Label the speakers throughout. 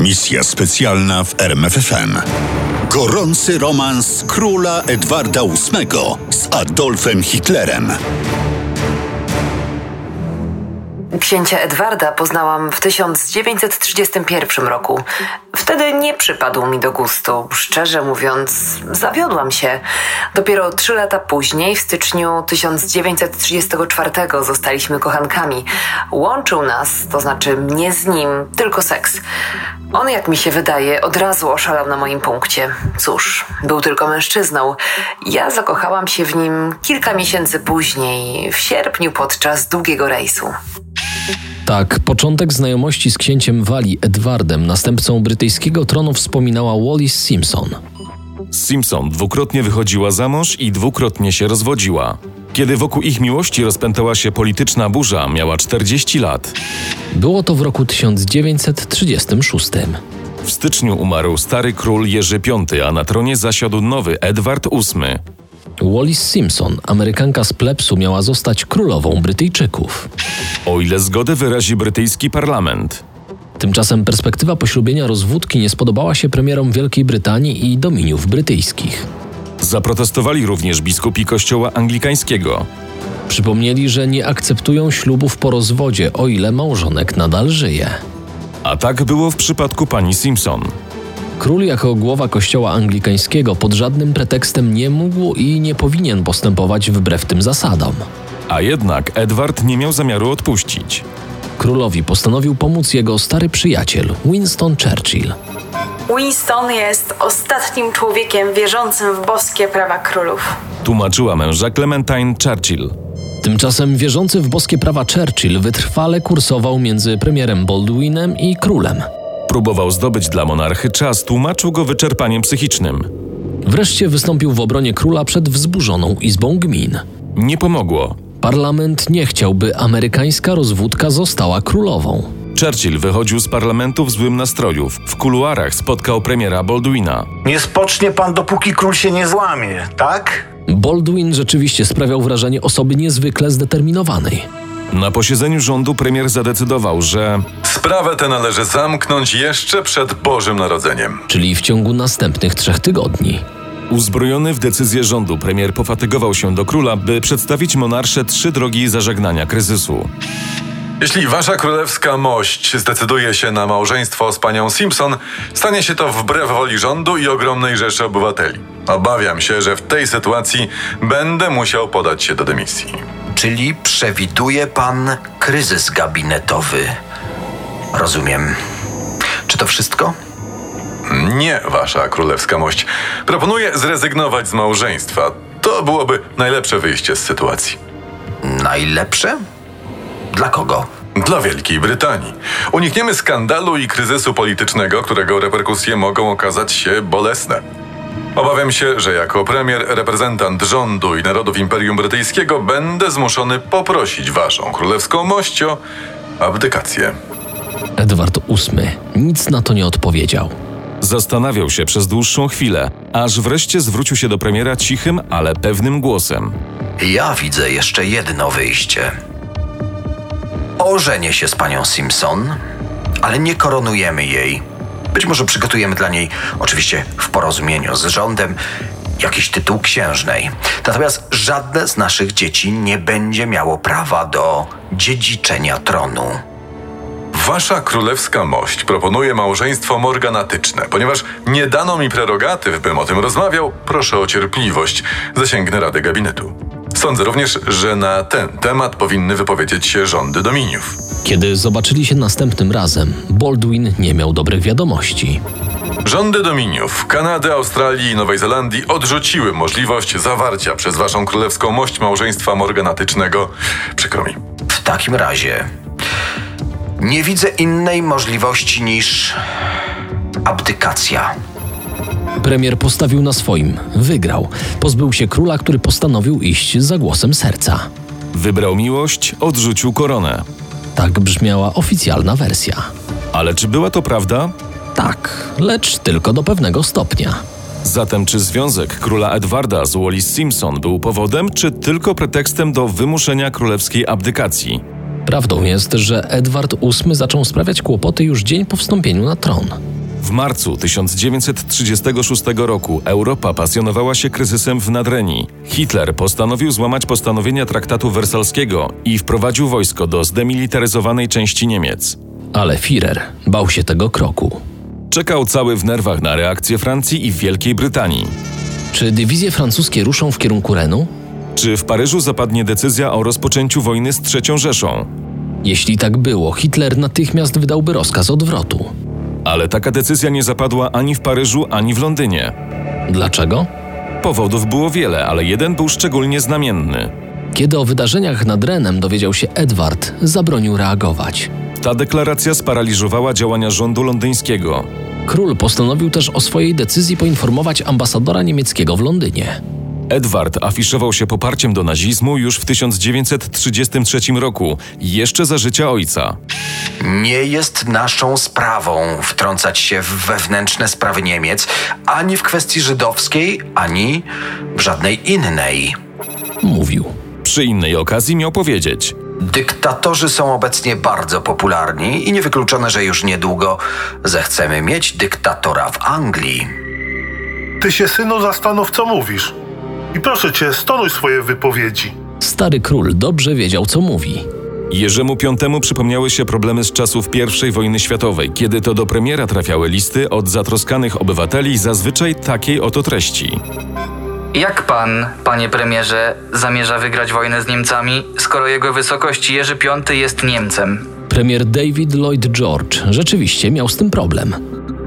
Speaker 1: Misja specjalna w RMFFM. Gorący romans króla Edwarda VIII z Adolfem Hitlerem.
Speaker 2: Księcia Edwarda poznałam w 1931 roku. Wtedy nie przypadł mi do gustu. Szczerze mówiąc, zawiodłam się. Dopiero trzy lata później, w styczniu 1934, zostaliśmy kochankami. Łączył nas, to znaczy mnie z nim, tylko seks. On, jak mi się wydaje, od razu oszalał na moim punkcie. Cóż, był tylko mężczyzną. Ja zakochałam się w nim kilka miesięcy później, w sierpniu podczas długiego rejsu.
Speaker 3: Tak, początek znajomości z księciem Walii Edwardem, następcą brytyjskiego tronu, wspominała Wallis Simpson.
Speaker 4: Simpson dwukrotnie wychodziła za mąż i dwukrotnie się rozwodziła. Kiedy wokół ich miłości rozpętała się polityczna burza, miała 40 lat.
Speaker 3: Było to w roku 1936.
Speaker 4: W styczniu umarł stary król Jerzy V, a na tronie zasiadł nowy Edward VIII.
Speaker 3: Wallis Simpson, Amerykanka z plebsu, miała zostać królową Brytyjczyków.
Speaker 4: O ile zgodę wyrazi brytyjski parlament.
Speaker 3: Tymczasem perspektywa poślubienia rozwódki nie spodobała się premierom Wielkiej Brytanii i dominiów brytyjskich.
Speaker 4: Zaprotestowali również biskupi kościoła anglikańskiego.
Speaker 3: Przypomnieli, że nie akceptują ślubów po rozwodzie, o ile małżonek nadal żyje.
Speaker 4: A tak było w przypadku pani Simpson.
Speaker 3: Król jako głowa kościoła anglikańskiego pod żadnym pretekstem nie mógł i nie powinien postępować wbrew tym zasadom.
Speaker 4: A jednak Edward nie miał zamiaru odpuścić.
Speaker 3: Królowi postanowił pomóc jego stary przyjaciel Winston Churchill.
Speaker 5: Winston jest ostatnim człowiekiem wierzącym w boskie prawa królów.
Speaker 4: Tłumaczyła męża Clementine Churchill.
Speaker 3: Tymczasem wierzący w boskie prawa Churchill wytrwale kursował między premierem Baldwinem i królem.
Speaker 4: Próbował zdobyć dla monarchy czas, tłumaczył go wyczerpaniem psychicznym.
Speaker 3: Wreszcie wystąpił w obronie króla przed wzburzoną Izbą Gmin.
Speaker 4: Nie pomogło.
Speaker 3: Parlament nie chciał, by amerykańska rozwódka została królową.
Speaker 4: Churchill wychodził z parlamentu w złym nastroju. W kuluarach spotkał premiera Baldwina.
Speaker 6: Nie spocznie pan, dopóki król się nie złamie, tak?
Speaker 3: Baldwin rzeczywiście sprawiał wrażenie osoby niezwykle zdeterminowanej.
Speaker 4: Na posiedzeniu rządu premier zadecydował, że
Speaker 7: Sprawę tę należy zamknąć jeszcze przed Bożym Narodzeniem.
Speaker 3: czyli w ciągu następnych trzech tygodni.
Speaker 4: uzbrojony w decyzję rządu premier pofatygował się do króla, by przedstawić monarsze trzy drogi zażegnania kryzysu.
Speaker 7: Jeśli wasza królewska mość zdecyduje się na małżeństwo z panią Simpson, stanie się to wbrew woli rządu i ogromnej rzeszy obywateli. Obawiam się, że w tej sytuacji będę musiał podać się do dymisji.
Speaker 8: Czyli przewiduje pan kryzys gabinetowy. Rozumiem. Czy to wszystko?
Speaker 7: Nie, wasza królewska mość. Proponuję zrezygnować z małżeństwa. To byłoby najlepsze wyjście z sytuacji.
Speaker 8: Najlepsze? Dla kogo?
Speaker 7: Dla Wielkiej Brytanii. Unikniemy skandalu i kryzysu politycznego, którego reperkusje mogą okazać się bolesne. Obawiam się, że jako premier, reprezentant rządu i narodów Imperium Brytyjskiego będę zmuszony poprosić waszą królewską mość o abdykację.
Speaker 3: Edward VIII nic na to nie odpowiedział.
Speaker 4: Zastanawiał się przez dłuższą chwilę, aż wreszcie zwrócił się do premiera cichym, ale pewnym głosem.
Speaker 8: Ja widzę jeszcze jedno wyjście. Ożenię się z panią Simpson, ale nie koronujemy jej. Być może przygotujemy dla niej, oczywiście w porozumieniu z rządem, jakiś tytuł księżnej. Natomiast żadne z naszych dzieci nie będzie miało prawa do dziedziczenia tronu.
Speaker 7: Wasza królewska mość proponuje małżeństwo morganatyczne. Ponieważ nie dano mi prerogatyw, bym o tym rozmawiał, proszę o cierpliwość. Zasięgnę Rady Gabinetu. Sądzę również, że na ten temat powinny wypowiedzieć się rządy dominiów.
Speaker 3: Kiedy zobaczyli się następnym razem, Baldwin nie miał dobrych wiadomości.
Speaker 7: Rządy dominiów Kanady, Australii i Nowej Zelandii odrzuciły możliwość zawarcia przez Waszą królewską mość małżeństwa morganatycznego. Przykro mi.
Speaker 8: W takim razie Nie widzę innej możliwości niż abdykacja.
Speaker 3: Premier postawił na swoim, wygrał. Pozbył się króla, który postanowił iść za głosem serca.
Speaker 4: Wybrał miłość, odrzucił koronę.
Speaker 3: Tak brzmiała oficjalna wersja.
Speaker 4: Ale czy była to prawda?
Speaker 3: Tak, lecz tylko do pewnego stopnia.
Speaker 4: Zatem czy związek króla Edwarda z Wallis Simpson był powodem, czy tylko pretekstem do wymuszenia królewskiej abdykacji?
Speaker 3: Prawdą jest, że Edward VIII zaczął sprawiać kłopoty już dzień po wstąpieniu na tron.
Speaker 4: W marcu 1936 roku Europa pasjonowała się kryzysem w Nadrenii. Hitler postanowił złamać postanowienia traktatu wersalskiego i wprowadził wojsko do zdemilitaryzowanej części Niemiec.
Speaker 3: Ale Führer bał się tego kroku.
Speaker 4: Czekał cały w nerwach na reakcję Francji i Wielkiej Brytanii.
Speaker 3: Czy dywizje francuskie ruszą w kierunku Renu?
Speaker 4: Czy w Paryżu zapadnie decyzja o rozpoczęciu wojny z III Rzeszą?
Speaker 3: Jeśli tak było, Hitler natychmiast wydałby rozkaz odwrotu.
Speaker 4: Ale taka decyzja nie zapadła ani w Paryżu, ani w Londynie.
Speaker 3: Dlaczego?
Speaker 4: Powodów było wiele, ale jeden był szczególnie znamienny.
Speaker 3: Kiedy o wydarzeniach nad Renem dowiedział się Edward, zabronił reagować.
Speaker 4: Ta deklaracja sparaliżowała działania rządu londyńskiego.
Speaker 3: Król postanowił też o swojej decyzji poinformować ambasadora niemieckiego w Londynie.
Speaker 4: Edward afiszował się poparciem do nazizmu już w 1933 roku, jeszcze za życia ojca.
Speaker 8: Nie jest naszą sprawą wtrącać się w wewnętrzne sprawy Niemiec, ani w kwestii żydowskiej, ani w żadnej innej.
Speaker 3: Mówił.
Speaker 4: Przy innej okazji miał powiedzieć:
Speaker 8: Dyktatorzy są obecnie bardzo popularni i niewykluczone, że już niedługo zechcemy mieć dyktatora w Anglii.
Speaker 9: Ty się, synu, zastanów, co mówisz. I proszę cię, stonuj swoje wypowiedzi.
Speaker 3: Stary król dobrze wiedział, co mówi.
Speaker 4: Jerzemu V przypomniały się problemy z czasów I wojny światowej, kiedy to do premiera trafiały listy od zatroskanych obywateli zazwyczaj takiej oto treści.
Speaker 10: Jak pan, panie premierze, zamierza wygrać wojnę z Niemcami, skoro jego wysokość Jerzy V jest Niemcem?
Speaker 3: Premier David Lloyd George rzeczywiście miał z tym problem.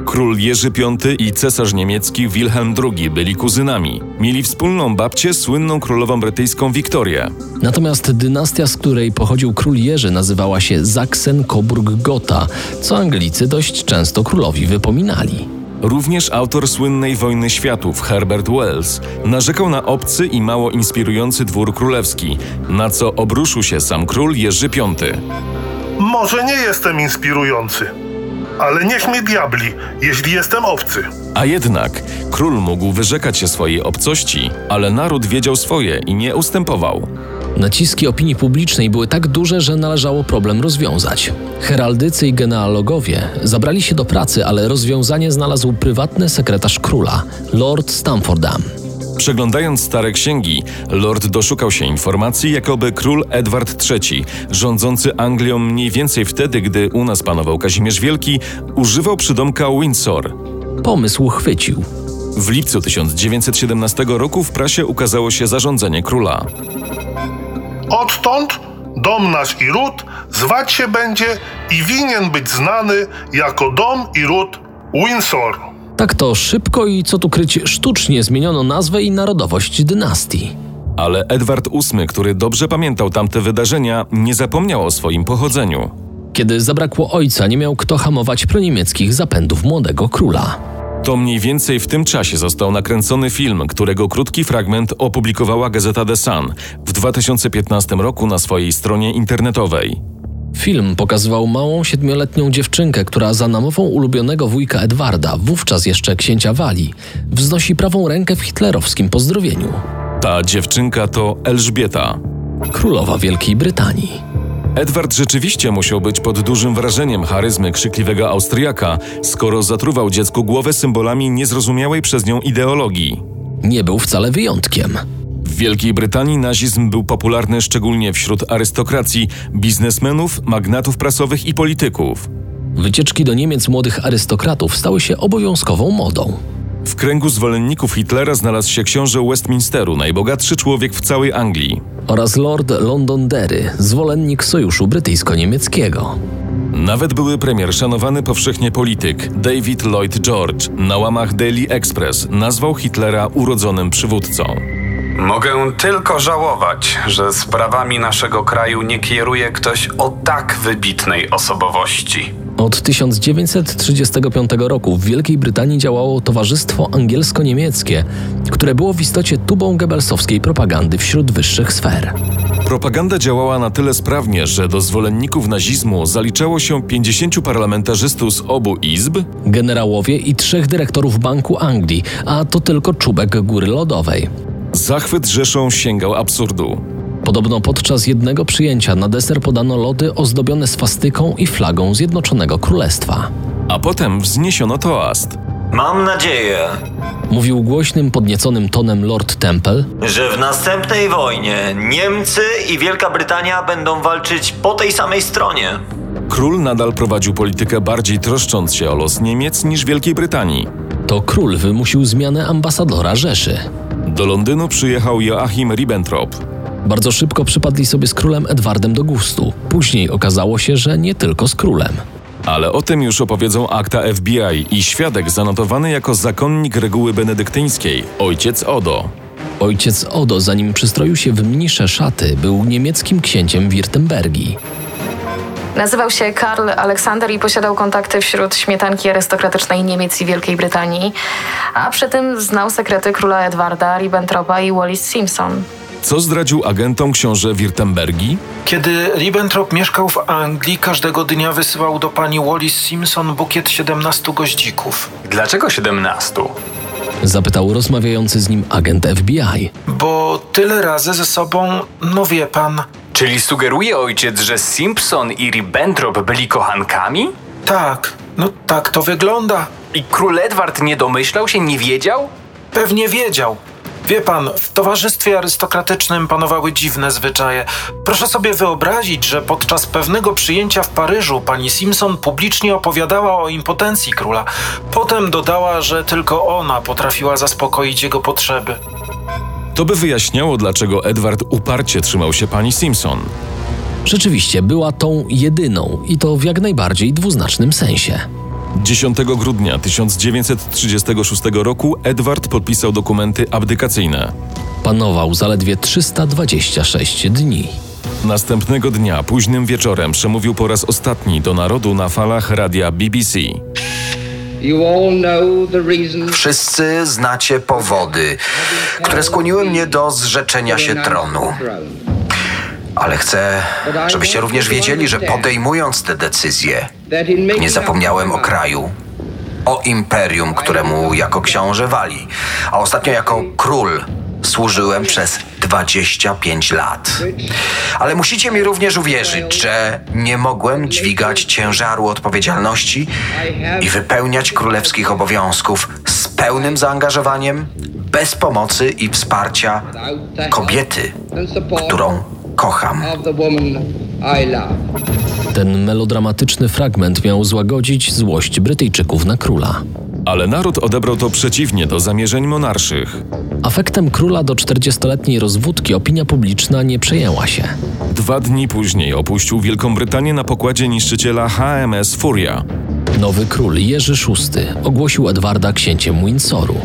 Speaker 4: Król Jerzy V i cesarz niemiecki Wilhelm II byli kuzynami. Mieli wspólną babcię, słynną królową brytyjską Wiktorię.
Speaker 3: Natomiast dynastia, z której pochodził król Jerzy, nazywała się Sachsen-Coburg-Gotha, co Anglicy dość często królowi wypominali.
Speaker 4: Również autor słynnej Wojny Światów, Herbert Wells, narzekał na obcy i mało inspirujący dwór królewski, na co obruszył się sam król Jerzy V.
Speaker 9: Może nie jestem inspirujący, ale niech mnie diabli, jeśli jestem obcy.
Speaker 4: A jednak król mógł wyrzekać się swojej obcości, ale naród wiedział swoje i nie ustępował.
Speaker 3: Naciski opinii publicznej były tak duże, że należało problem rozwiązać. Heraldycy i genealogowie zabrali się do pracy, ale rozwiązanie znalazł prywatny sekretarz króla, lord Stamfordham.
Speaker 4: Przeglądając stare księgi, lord doszukał się informacji, jakoby król Edward III, rządzący Anglią mniej więcej wtedy, gdy u nas panował Kazimierz Wielki, używał przydomka Windsor.
Speaker 3: Pomysł chwycił.
Speaker 4: W lipcu 1917 roku w prasie ukazało się zarządzenie króla.
Speaker 9: Odtąd dom nasz i ród zwać się będzie i winien być znany jako dom i ród Windsor.
Speaker 3: Tak to szybko i co tu kryć, sztucznie zmieniono nazwę i narodowość dynastii.
Speaker 4: Ale Edward VIII, który dobrze pamiętał tamte wydarzenia, nie zapomniał o swoim pochodzeniu.
Speaker 3: Kiedy zabrakło ojca, nie miał kto hamować proniemieckich zapędów młodego króla.
Speaker 4: To mniej więcej w tym czasie został nakręcony film, którego krótki fragment opublikowała gazeta The Sun w 2015 roku na swojej stronie internetowej.
Speaker 3: Film pokazywał małą siedmioletnią dziewczynkę, która za namową ulubionego wujka Edwarda, wówczas jeszcze księcia Walii, wznosi prawą rękę w hitlerowskim pozdrowieniu.
Speaker 4: Ta dziewczynka to Elżbieta,
Speaker 3: królowa Wielkiej Brytanii.
Speaker 4: Edward rzeczywiście musiał być pod dużym wrażeniem charyzmy krzykliwego Austriaka, skoro zatruwał dziecku głowę symbolami niezrozumiałej przez nią ideologii.
Speaker 3: Nie był wcale wyjątkiem.
Speaker 4: W Wielkiej Brytanii nazizm był popularny szczególnie wśród arystokracji, biznesmenów, magnatów prasowych i polityków.
Speaker 3: Wycieczki do Niemiec młodych arystokratów stały się obowiązkową modą.
Speaker 4: W kręgu zwolenników Hitlera znalazł się książę Westminsteru, najbogatszy człowiek w całej Anglii,
Speaker 3: oraz lord Londonderry, zwolennik sojuszu brytyjsko-niemieckiego.
Speaker 4: Nawet były premier szanowany powszechnie polityk David Lloyd George na łamach Daily Express nazwał Hitlera urodzonym przywódcą.
Speaker 11: Mogę tylko żałować, że sprawami naszego kraju nie kieruje ktoś o tak wybitnej osobowości.
Speaker 3: Od 1935 roku w Wielkiej Brytanii działało Towarzystwo Angielsko-Niemieckie, które było w istocie tubą gebelsowskiej propagandy wśród wyższych sfer.
Speaker 4: Propaganda działała na tyle sprawnie, że do zwolenników nazizmu zaliczało się 50 parlamentarzystów z obu izb,
Speaker 3: generałowie i trzech dyrektorów Banku Anglii, a to tylko czubek góry lodowej.
Speaker 4: Zachwyt rzeszą sięgał absurdu.
Speaker 3: Podobno podczas jednego przyjęcia na deser podano lody ozdobione swastyką i flagą Zjednoczonego Królestwa.
Speaker 4: A potem wzniesiono toast.
Speaker 12: Mam nadzieję,
Speaker 3: Mówił głośnym, podnieconym tonem Lord Temple,
Speaker 12: że w następnej wojnie Niemcy i Wielka Brytania będą walczyć po tej samej stronie.
Speaker 4: Król nadal prowadził politykę bardziej troszcząc się o los Niemiec niż Wielkiej Brytanii.
Speaker 3: To król wymusił zmianę ambasadora Rzeszy.
Speaker 4: Do Londynu przyjechał Joachim Ribbentrop.
Speaker 3: Bardzo szybko przypadli sobie z królem Edwardem do gustu. Później okazało się, że nie tylko z królem.
Speaker 4: Ale o tym już opowiedzą akta FBI i świadek zanotowany jako zakonnik reguły benedyktyńskiej, ojciec Odo.
Speaker 3: Ojciec Odo, zanim przystroił się w mnisze szaty, był niemieckim księciem Wirtembergi.
Speaker 13: Nazywał się Karl Aleksander i posiadał kontakty wśród śmietanki arystokratycznej Niemiec i Wielkiej Brytanii, a przy tym znał sekrety króla Edwarda, Ribbentropa i Wallis Simpson.
Speaker 4: Co zdradził agentom książę Wirtembergi?
Speaker 14: Kiedy Ribbentrop mieszkał w Anglii, każdego dnia wysyłał do pani Wallis Simpson bukiet 17 goździków.
Speaker 11: Dlaczego 17?
Speaker 3: Zapytał rozmawiający z nim agent FBI.
Speaker 14: Bo tyle razy ze sobą, no wie pan,
Speaker 11: Czyli sugeruje ojciec, że Simpson i Ribbentrop byli kochankami?
Speaker 14: tak, no tak to wygląda.
Speaker 11: I król Edward nie domyślał się, nie wiedział?
Speaker 14: Pewnie wiedział. Wie pan, w towarzystwie arystokratycznym panowały dziwne zwyczaje. Proszę sobie wyobrazić, że podczas pewnego przyjęcia w Paryżu pani Simpson publicznie opowiadała o impotencji króla. Potem dodała, że tylko ona potrafiła zaspokoić jego potrzeby.
Speaker 4: To by wyjaśniało, dlaczego Edward uparcie trzymał się pani Simpson.
Speaker 3: Rzeczywiście była tą jedyną i to w jak najbardziej dwuznacznym sensie.
Speaker 4: 10 grudnia 1936 roku Edward podpisał dokumenty abdykacyjne.
Speaker 3: Panował zaledwie 326 dni.
Speaker 4: Następnego dnia, późnym wieczorem, przemówił po raz ostatni do narodu na falach radia BBC.
Speaker 8: Wszyscy znacie powody, które skłoniły mnie do zrzeczenia się tronu. Ale chcę, żebyście również wiedzieli, że podejmując te decyzje, nie zapomniałem o kraju, o imperium, któremu jako książę wali, a ostatnio jako król służyłem przez 25 lat. Ale musicie mi również uwierzyć, że nie mogłem dźwigać ciężaru odpowiedzialności i wypełniać królewskich obowiązków z pełnym zaangażowaniem, bez pomocy i wsparcia kobiety, którą kocham.
Speaker 3: Ten melodramatyczny fragment miał złagodzić złość Brytyjczyków na króla.
Speaker 4: Ale naród odebrał to przeciwnie do zamierzeń monarszych.
Speaker 3: Afektem króla do 40-letniej rozwódki opinia publiczna nie przejęła się.
Speaker 4: Dwa dni później opuścił Wielką Brytanię na pokładzie niszczyciela HMS Furia.
Speaker 3: Nowy król Jerzy VI ogłosił Edwarda księciem Windsoru.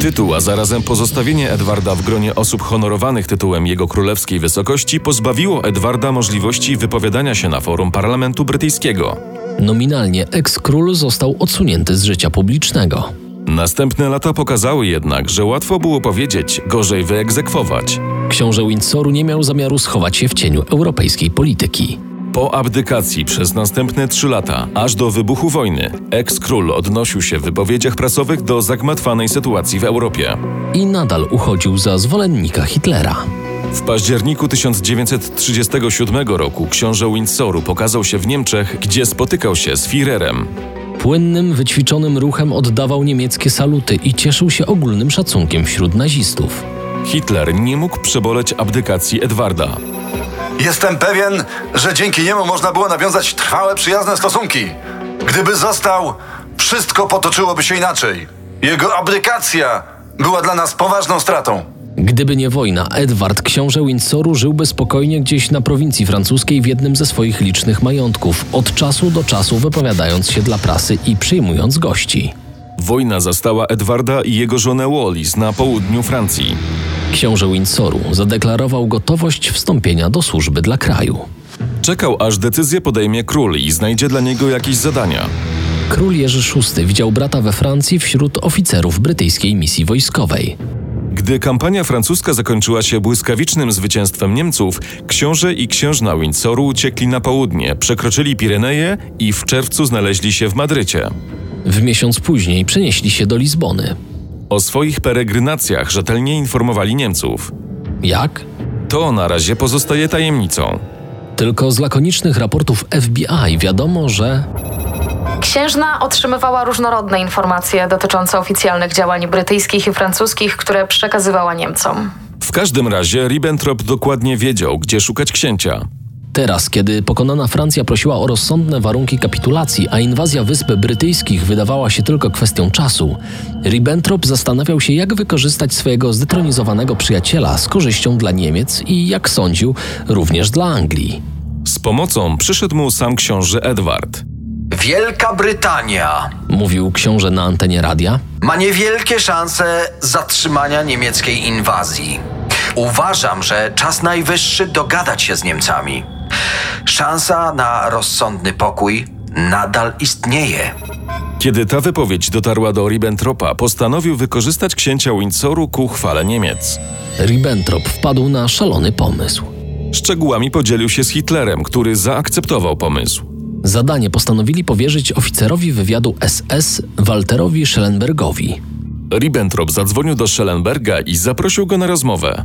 Speaker 4: Tytuł, a zarazem pozostawienie Edwarda w gronie osób honorowanych tytułem Jego Królewskiej Wysokości pozbawiło Edwarda możliwości wypowiadania się na forum parlamentu brytyjskiego.
Speaker 3: Nominalnie eks-król został odsunięty z życia publicznego.
Speaker 4: Następne lata pokazały jednak, że łatwo było powiedzieć, gorzej wyegzekwować.
Speaker 3: Książę Windsoru nie miał zamiaru schować się w cieniu europejskiej polityki.
Speaker 4: Po abdykacji przez następne trzy lata, aż do wybuchu wojny, eks-król odnosił się w wypowiedziach prasowych do zagmatwanej sytuacji w Europie.
Speaker 3: I nadal uchodził za zwolennika Hitlera.
Speaker 4: W październiku 1937 roku książę Windsoru pokazał się w Niemczech, gdzie spotykał się z Führerem.
Speaker 3: Płynnym, wyćwiczonym ruchem oddawał niemieckie saluty i cieszył się ogólnym szacunkiem wśród nazistów.
Speaker 4: Hitler nie mógł przeboleć abdykacji Edwarda.
Speaker 15: Jestem pewien, że dzięki niemu można było nawiązać trwałe, przyjazne stosunki. Gdyby został, wszystko potoczyłoby się inaczej. Jego abdykacja była dla nas poważną stratą.
Speaker 3: Gdyby nie wojna, Edward, książę Windsoru, żyłby spokojnie gdzieś na prowincji francuskiej w jednym ze swoich licznych majątków, od czasu do czasu wypowiadając się dla prasy i przyjmując gości.
Speaker 4: Wojna zastała Edwarda i jego żonę Wallis na południu Francji.
Speaker 3: Książę Windsoru zadeklarował gotowość wstąpienia do służby dla kraju.
Speaker 4: Czekał, aż decyzję podejmie król i znajdzie dla niego jakieś zadania.
Speaker 3: Król Jerzy VI widział brata we Francji wśród oficerów brytyjskiej misji wojskowej.
Speaker 4: Gdy kampania francuska zakończyła się błyskawicznym zwycięstwem Niemców, książę i księżna Windsoru uciekli na południe, przekroczyli Pireneje i w czerwcu znaleźli się w Madrycie.
Speaker 3: W miesiąc później przenieśli się do Lizbony.
Speaker 4: O swoich peregrinacjach rzetelnie informowali Niemców.
Speaker 3: Jak?
Speaker 4: To na razie pozostaje tajemnicą.
Speaker 3: Tylko z lakonicznych raportów FBI wiadomo, że
Speaker 2: Księżna otrzymywała różnorodne informacje dotyczące oficjalnych działań brytyjskich i francuskich, które przekazywała Niemcom.
Speaker 4: W każdym razie Ribbentrop dokładnie wiedział, gdzie szukać księcia.
Speaker 3: Teraz, kiedy pokonana Francja prosiła o rozsądne warunki kapitulacji, a inwazja Wysp Brytyjskich wydawała się tylko kwestią czasu, Ribbentrop zastanawiał się, jak wykorzystać swojego zdetronizowanego przyjaciela z korzyścią dla Niemiec i, jak sądził, również dla Anglii.
Speaker 4: Z pomocą przyszedł mu sam książę Edward.
Speaker 8: Wielka Brytania
Speaker 3: Mówił książę na antenie radia.
Speaker 8: ma niewielkie szanse zatrzymania niemieckiej inwazji. Uważam, że czas najwyższy dogadać się z Niemcami. Szansa na rozsądny pokój nadal istnieje.
Speaker 4: Kiedy ta wypowiedź dotarła do Ribbentropa, postanowił wykorzystać księcia Windsoru ku chwale Niemiec.
Speaker 3: Ribbentrop wpadł na szalony pomysł.
Speaker 4: Szczegółami podzielił się z Hitlerem, który zaakceptował pomysł.
Speaker 3: Zadanie postanowili powierzyć oficerowi wywiadu SS Walterowi Schellenbergowi.
Speaker 4: Ribbentrop zadzwonił do Schellenberga i zaprosił go na rozmowę.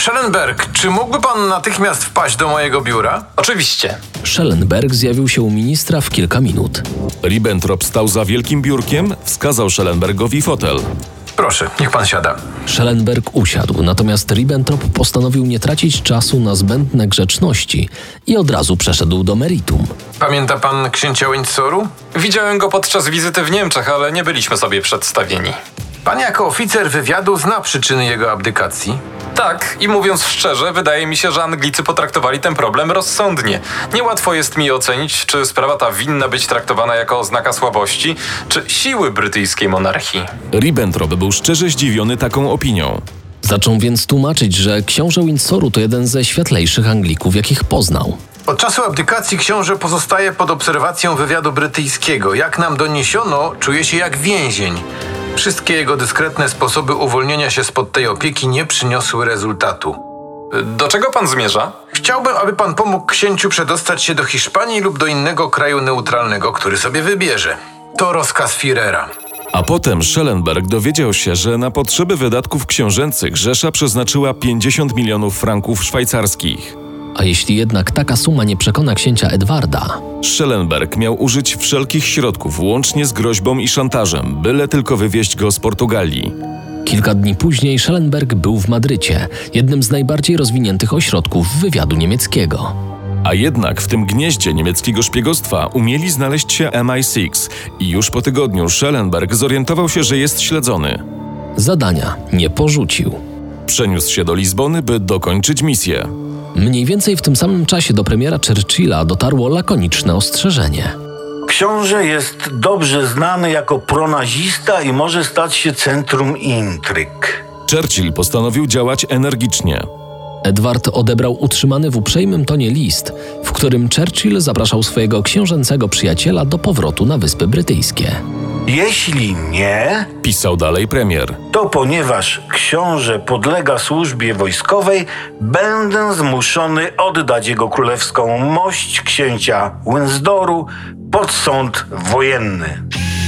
Speaker 7: Schellenberg, czy mógłby pan natychmiast wpaść do mojego biura? Oczywiście.
Speaker 3: Schellenberg zjawił się u ministra w kilka minut.
Speaker 4: Ribbentrop stał za wielkim biurkiem, wskazał Schellenbergowi fotel.
Speaker 7: Proszę, niech pan siada.
Speaker 3: Schellenberg usiadł, natomiast Ribbentrop postanowił nie tracić czasu na zbędne grzeczności i od razu przeszedł do meritum.
Speaker 7: Pamięta pan księcia Windsoru?
Speaker 16: Widziałem go podczas wizyty w Niemczech, ale nie byliśmy sobie przedstawieni.
Speaker 7: Pan jako oficer wywiadu zna przyczyny jego abdykacji.
Speaker 16: Tak, i mówiąc szczerze, wydaje mi się, że Anglicy potraktowali ten problem rozsądnie. Niełatwo jest mi ocenić, czy sprawa ta winna być traktowana jako oznaka słabości, czy siły brytyjskiej monarchii.
Speaker 4: Ribbentrop był szczerze zdziwiony taką opinią.
Speaker 3: Zaczął więc tłumaczyć, że książę Windsoru to jeden ze światlejszych Anglików, jakich poznał.
Speaker 7: Od czasu abdykacji książę pozostaje pod obserwacją wywiadu brytyjskiego. Jak nam doniesiono, czuje się jak więzień. Wszystkie jego dyskretne sposoby uwolnienia się spod tej opieki nie przyniosły rezultatu.
Speaker 16: Do czego pan zmierza?
Speaker 7: Chciałbym, aby pan pomógł księciu przedostać się do Hiszpanii lub do innego kraju neutralnego, który sobie wybierze. To rozkaz Firera.
Speaker 4: A potem Schellenberg dowiedział się, że na potrzeby wydatków książęcych Rzesza przeznaczyła 50 milionów franków szwajcarskich.
Speaker 3: A jeśli jednak taka suma nie przekona księcia Edwarda,
Speaker 4: Schellenberg miał użyć wszelkich środków, łącznie z groźbą i szantażem, byle tylko wywieźć go z Portugalii.
Speaker 3: kilka dni później Schellenberg był w Madrycie, jednym z najbardziej rozwiniętych ośrodków wywiadu niemieckiego.
Speaker 4: A jednak w tym gnieździe niemieckiego szpiegostwa umieli znaleźć się MI6 i już po tygodniu Schellenberg zorientował się, że jest śledzony.
Speaker 3: Zadania nie porzucił.
Speaker 4: Przeniósł się do Lizbony, by dokończyć misję.
Speaker 3: Mniej więcej w tym samym czasie do premiera Churchilla dotarło lakoniczne ostrzeżenie.
Speaker 14: Książę jest dobrze znany jako pronazista i może stać się centrum intryg.
Speaker 4: Churchill postanowił działać energicznie.
Speaker 3: Edward odebrał utrzymany w uprzejmym tonie list, w którym Churchill zapraszał swojego książęcego przyjaciela do powrotu na Wyspy Brytyjskie.
Speaker 14: Jeśli nie,
Speaker 4: pisał dalej premier,
Speaker 14: to ponieważ książę podlega służbie wojskowej, będę zmuszony oddać jego królewską mość księcia Windsoru pod sąd wojenny.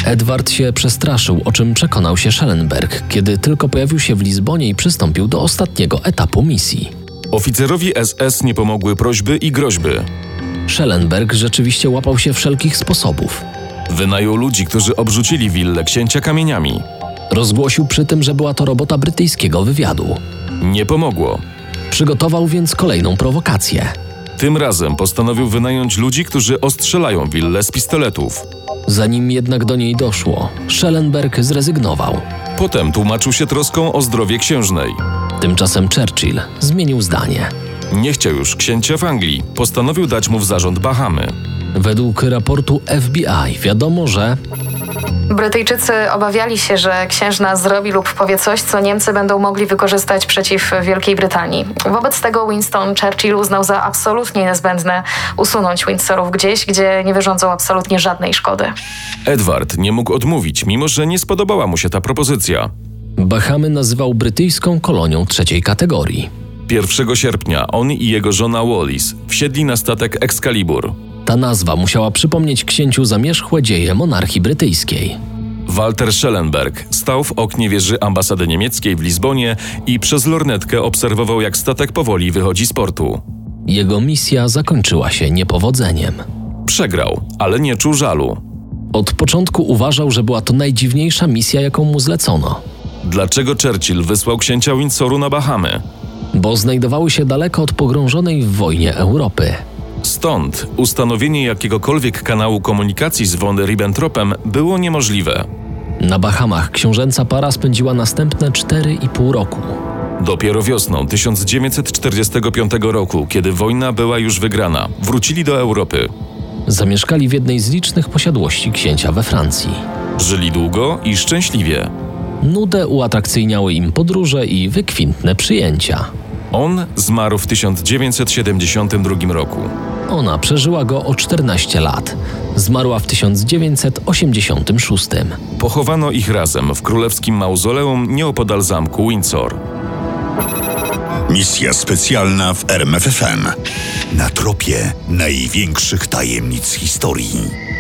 Speaker 3: Edward się przestraszył, o czym przekonał się Schellenberg, kiedy tylko pojawił się w Lizbonie i przystąpił do ostatniego etapu misji.
Speaker 4: Oficerowi SS nie pomogły prośby i groźby.
Speaker 3: Schellenberg rzeczywiście łapał się wszelkich sposobów.
Speaker 4: Wynajął ludzi, którzy obrzucili willę księcia kamieniami.
Speaker 3: Rozgłosił przy tym, że była to robota brytyjskiego wywiadu.
Speaker 4: Nie pomogło.
Speaker 3: Przygotował więc kolejną prowokację.
Speaker 4: Tym razem postanowił wynająć ludzi, którzy ostrzelają willę z pistoletów.
Speaker 3: Zanim jednak do niej doszło, Schellenberg zrezygnował.
Speaker 4: Potem tłumaczył się troską o zdrowie księżnej.
Speaker 3: Tymczasem Churchill zmienił zdanie.
Speaker 4: Nie chciał już księcia w Anglii. Postanowił dać mu w zarząd Bahamy.
Speaker 3: Według raportu FBI wiadomo, że
Speaker 13: Brytyjczycy obawiali się, że księżna zrobi lub powie coś, co Niemcy będą mogli wykorzystać przeciw Wielkiej Brytanii. Wobec tego Winston Churchill uznał za absolutnie niezbędne usunąć Windsorów gdzieś, gdzie nie wyrządzą absolutnie żadnej szkody.
Speaker 4: Edward nie mógł odmówić, mimo że nie spodobała mu się ta propozycja.
Speaker 3: Bahamy nazywał brytyjską kolonią trzeciej kategorii.
Speaker 4: 1 sierpnia on i jego żona Wallis wsiedli na statek Excalibur.
Speaker 3: Ta nazwa musiała przypomnieć księciu zamierzchłe dzieje monarchii brytyjskiej.
Speaker 4: Walter Schellenberg stał w oknie wieży ambasady niemieckiej w Lizbonie i przez lornetkę obserwował, jak statek powoli wychodzi z portu.
Speaker 3: Jego misja zakończyła się niepowodzeniem.
Speaker 4: Przegrał, ale nie czuł żalu.
Speaker 3: Od początku uważał, że była to najdziwniejsza misja, jaką mu zlecono.
Speaker 4: Dlaczego Churchill wysłał księcia Windsoru na Bahamy?
Speaker 3: Bo znajdowały się daleko od pogrążonej w wojnie Europy.
Speaker 4: Stąd ustanowienie jakiegokolwiek kanału komunikacji z von Ribbentropem było niemożliwe.
Speaker 3: Na Bahamach książęca para spędziła następne 4,5 roku.
Speaker 4: Dopiero wiosną 1945 roku, kiedy wojna była już wygrana, wrócili do Europy.
Speaker 3: Zamieszkali w jednej z licznych posiadłości księcia we Francji.
Speaker 4: Żyli długo i szczęśliwie.
Speaker 3: Nudę uatrakcyjniały im podróże i wykwintne przyjęcia.
Speaker 4: On zmarł w 1972 roku.
Speaker 3: Ona przeżyła go o 14 lat. Zmarła w 1986.
Speaker 4: Pochowano ich razem w królewskim mauzoleum nieopodal zamku Windsor.
Speaker 1: Misja specjalna w RMFFM. Na tropie największych tajemnic historii.